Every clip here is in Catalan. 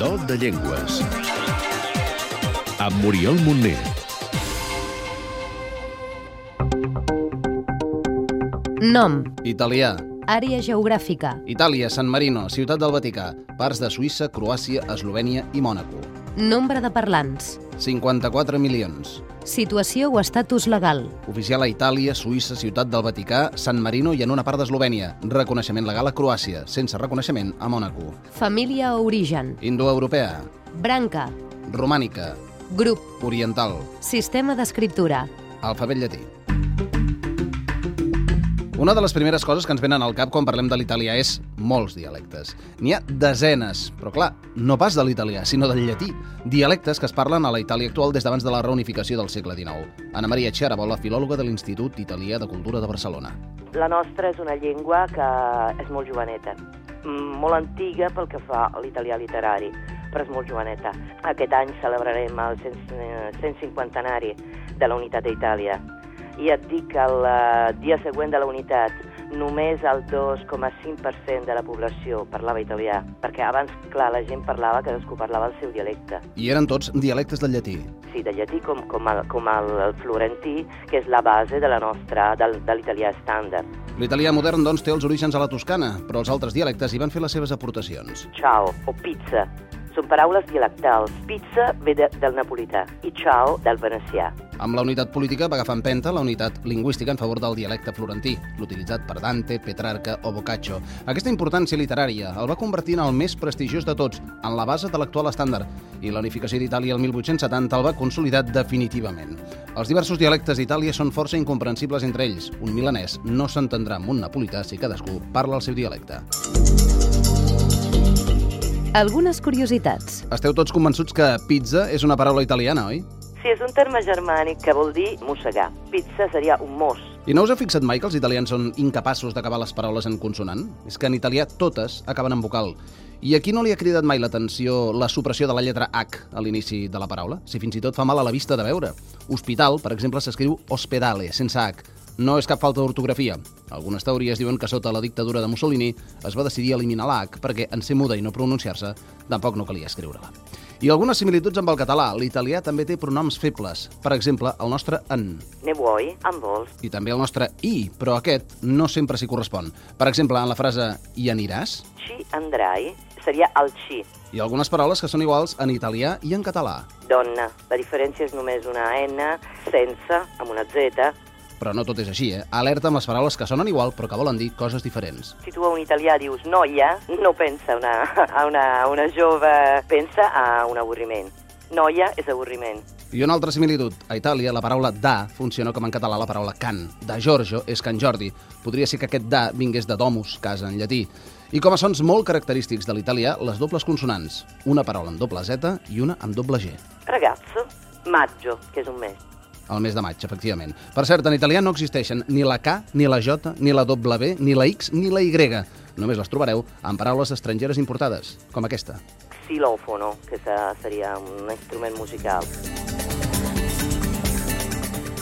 Joc de Llengües. Amb Muriel Montner. Nom, Italià. àrea geogràfica, Itàlia, San Marino, Ciutat del Vaticà, parts de Suïssa, Croàcia, Eslovènia i Mònaco. nombre de parlants, 54 milions. situació o estatus legal, Oficial a Itàlia, Suïssa, Ciutat del Vaticà, San Marino i en una part d'Eslovènia. Reconeixement legal a Croàcia, sense reconeixement a Mònaco. família o origen, Indoeuropea, branca, romànica, grup, oriental, sistema d'escriptura, alfabet llatí. Una de les primeres coses que ens venen al cap quan parlem de l'italià és molts dialectes. N'hi ha desenes, però clar, no pas de l'italià, sinó del llatí. Dialectes que es parlen a la Itàlia actual des d'abans de la reunificació del segle XIX. Ana Maria Chiarabola, filòloga de l'Institut Italià de Cultura de Barcelona. La nostra és una llengua que és molt joveneta, mm, molt antiga pel que fa a l'italià literari, però és molt joveneta. Aquest any celebrarem el 150-anari de la Unitat d'Itàlia i et dic que el eh, dia següent de la Unitat només el 2,5% de la població parlava italià, perquè abans, clar, la gent parlava, cadascú parlava el seu dialecte. I eren tots dialectes del llatí. Sí, de llatí com, com, el, com el, el florentí, que és la base de la nostra, del, de l'italià estàndard. L'italià modern, doncs, té els orígens a la Toscana, però els altres dialectes hi van fer les seves aportacions. ciao o pizza. Són paraules dialectals. Pizza ve de, del napolità i ciao del venecià. Amb la unitat política va agafar empenta la unitat lingüística en favor del dialecte florentí, l'utilitzat per Dante, Petrarca o Boccaccio. Aquesta importància literària el va convertir en el més prestigiós de tots, en la base de l'actual estàndard, i la unificació d'Itàlia el 1870 el va consolidar definitivament. Els diversos dialectes d'Itàlia són força incomprensibles entre ells. Un milanès no s'entendrà amb un napolità si cadascú parla el seu dialecte. algunes curiositats, Esteu tots convençuts que pizza és una paraula italiana, oi? Sí, és un terme germànic que vol dir mossegar. Pizza seria un mos. I no us heu fixat mai que els italians són incapaços d'acabar les paraules en consonant? És que en italià totes acaben en vocal. I aquí no li ha cridat mai l'atenció la supressió de la lletra H a l'inici de la paraula? Si fins i tot fa mal a la vista de veure. Hospital, per exemple, s'escriu hospedale, sense H. No és cap falta d'ortografia. Algunes teories diuen que sota la dictadura de Mussolini es va decidir eliminar la H perquè en ser muda i no pronunciar-se tampoc no calia escriure-la. I algunes similituds amb el català. L'italià també té pronoms febles. Per exemple, el nostre en Ne vuoi, en vols. i també el nostre i, però aquest no sempre s'hi correspon. Per exemple, en la frase hi aniràs, Ci andrai seria el ci. hi ha algunes paraules que són iguals en italià i en català, Donna. La diferència és només una N sense, amb una Z. però no tot és així, eh? Alerta amb les paraules que sonen igual però que volen dir coses diferents. Si tu a un italià dius noia, no pensa a una, a una, a una jove, pensa a un avorriment. Noia és avorriment. I una altra similitud. A Itàlia, la paraula da funciona com en català la paraula can. Da Giorgio és Can Jordi. Podria ser que aquest da vingués de domus, casa en llatí. I com a sons molt característics de l'italià, les dobles consonants. Una paraula amb doble Z i una amb doble G. Ragazzo, maggio, que és un mes. El mes de maig, efectivament. Per cert, en italià no existeixen ni la K, ni la J, ni la W, ni la X, ni la Y. Només les trobareu en paraules estrangeres importades, com aquesta. xilofono, que se- seria un instrument musical.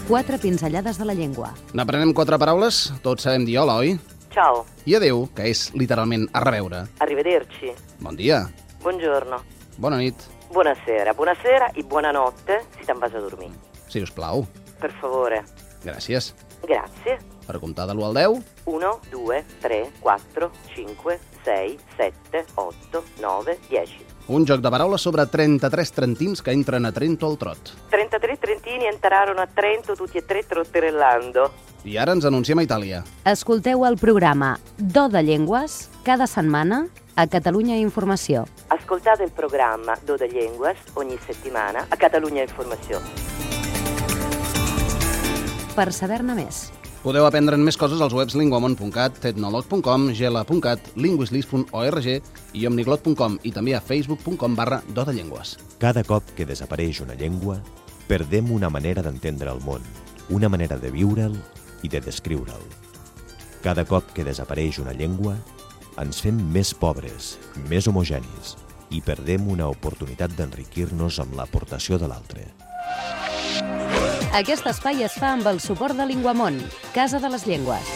quatre pinzellades de la llengua, N'aprenem quatre paraules, tots sabem dir hola, oi? Ciao, I adeu, que és literalment a reveure. arrivederci, Bon dia, buongiorno, bona nit, buonasera, buonasera e buonanotte, si te'n vas a dormir. si us plau. Per favore, Gràcies. grazie. Per comptar de l'1 al 10, 1, 2, 3, 4, 5, 6, 7, 8, 9, 10. un joc de paraules sobre 33 trentins que entren a Trento al trot. 33 trentini entrarono a Trento tutti e tre trotterellando. I ara ens anunciem a Itàlia. escolteu el programa Do de Llengües cada setmana a Catalunya Informació. Ascoltate il programma Doda Lenguas ogni settimana a Catalunya Informazione. Per saber-ne més, Podeu aprendre'n més coses als webs linguamon.cat, tecnolog.com, gela.cat, linguislis.org i omniglot.com i també a facebook.com barra dotallengües. Cada cop que desapareix una llengua, perdem una manera d'entendre el món, una manera de viure'l i de descriure'l. Cada cop que desapareix una llengua, ens fem més pobres, més homogenis i perdem una oportunitat d'enriquir-nos amb l'aportació de l'altre. aquest espai es fa amb el suport de Linguamont, Casa de les Llengües.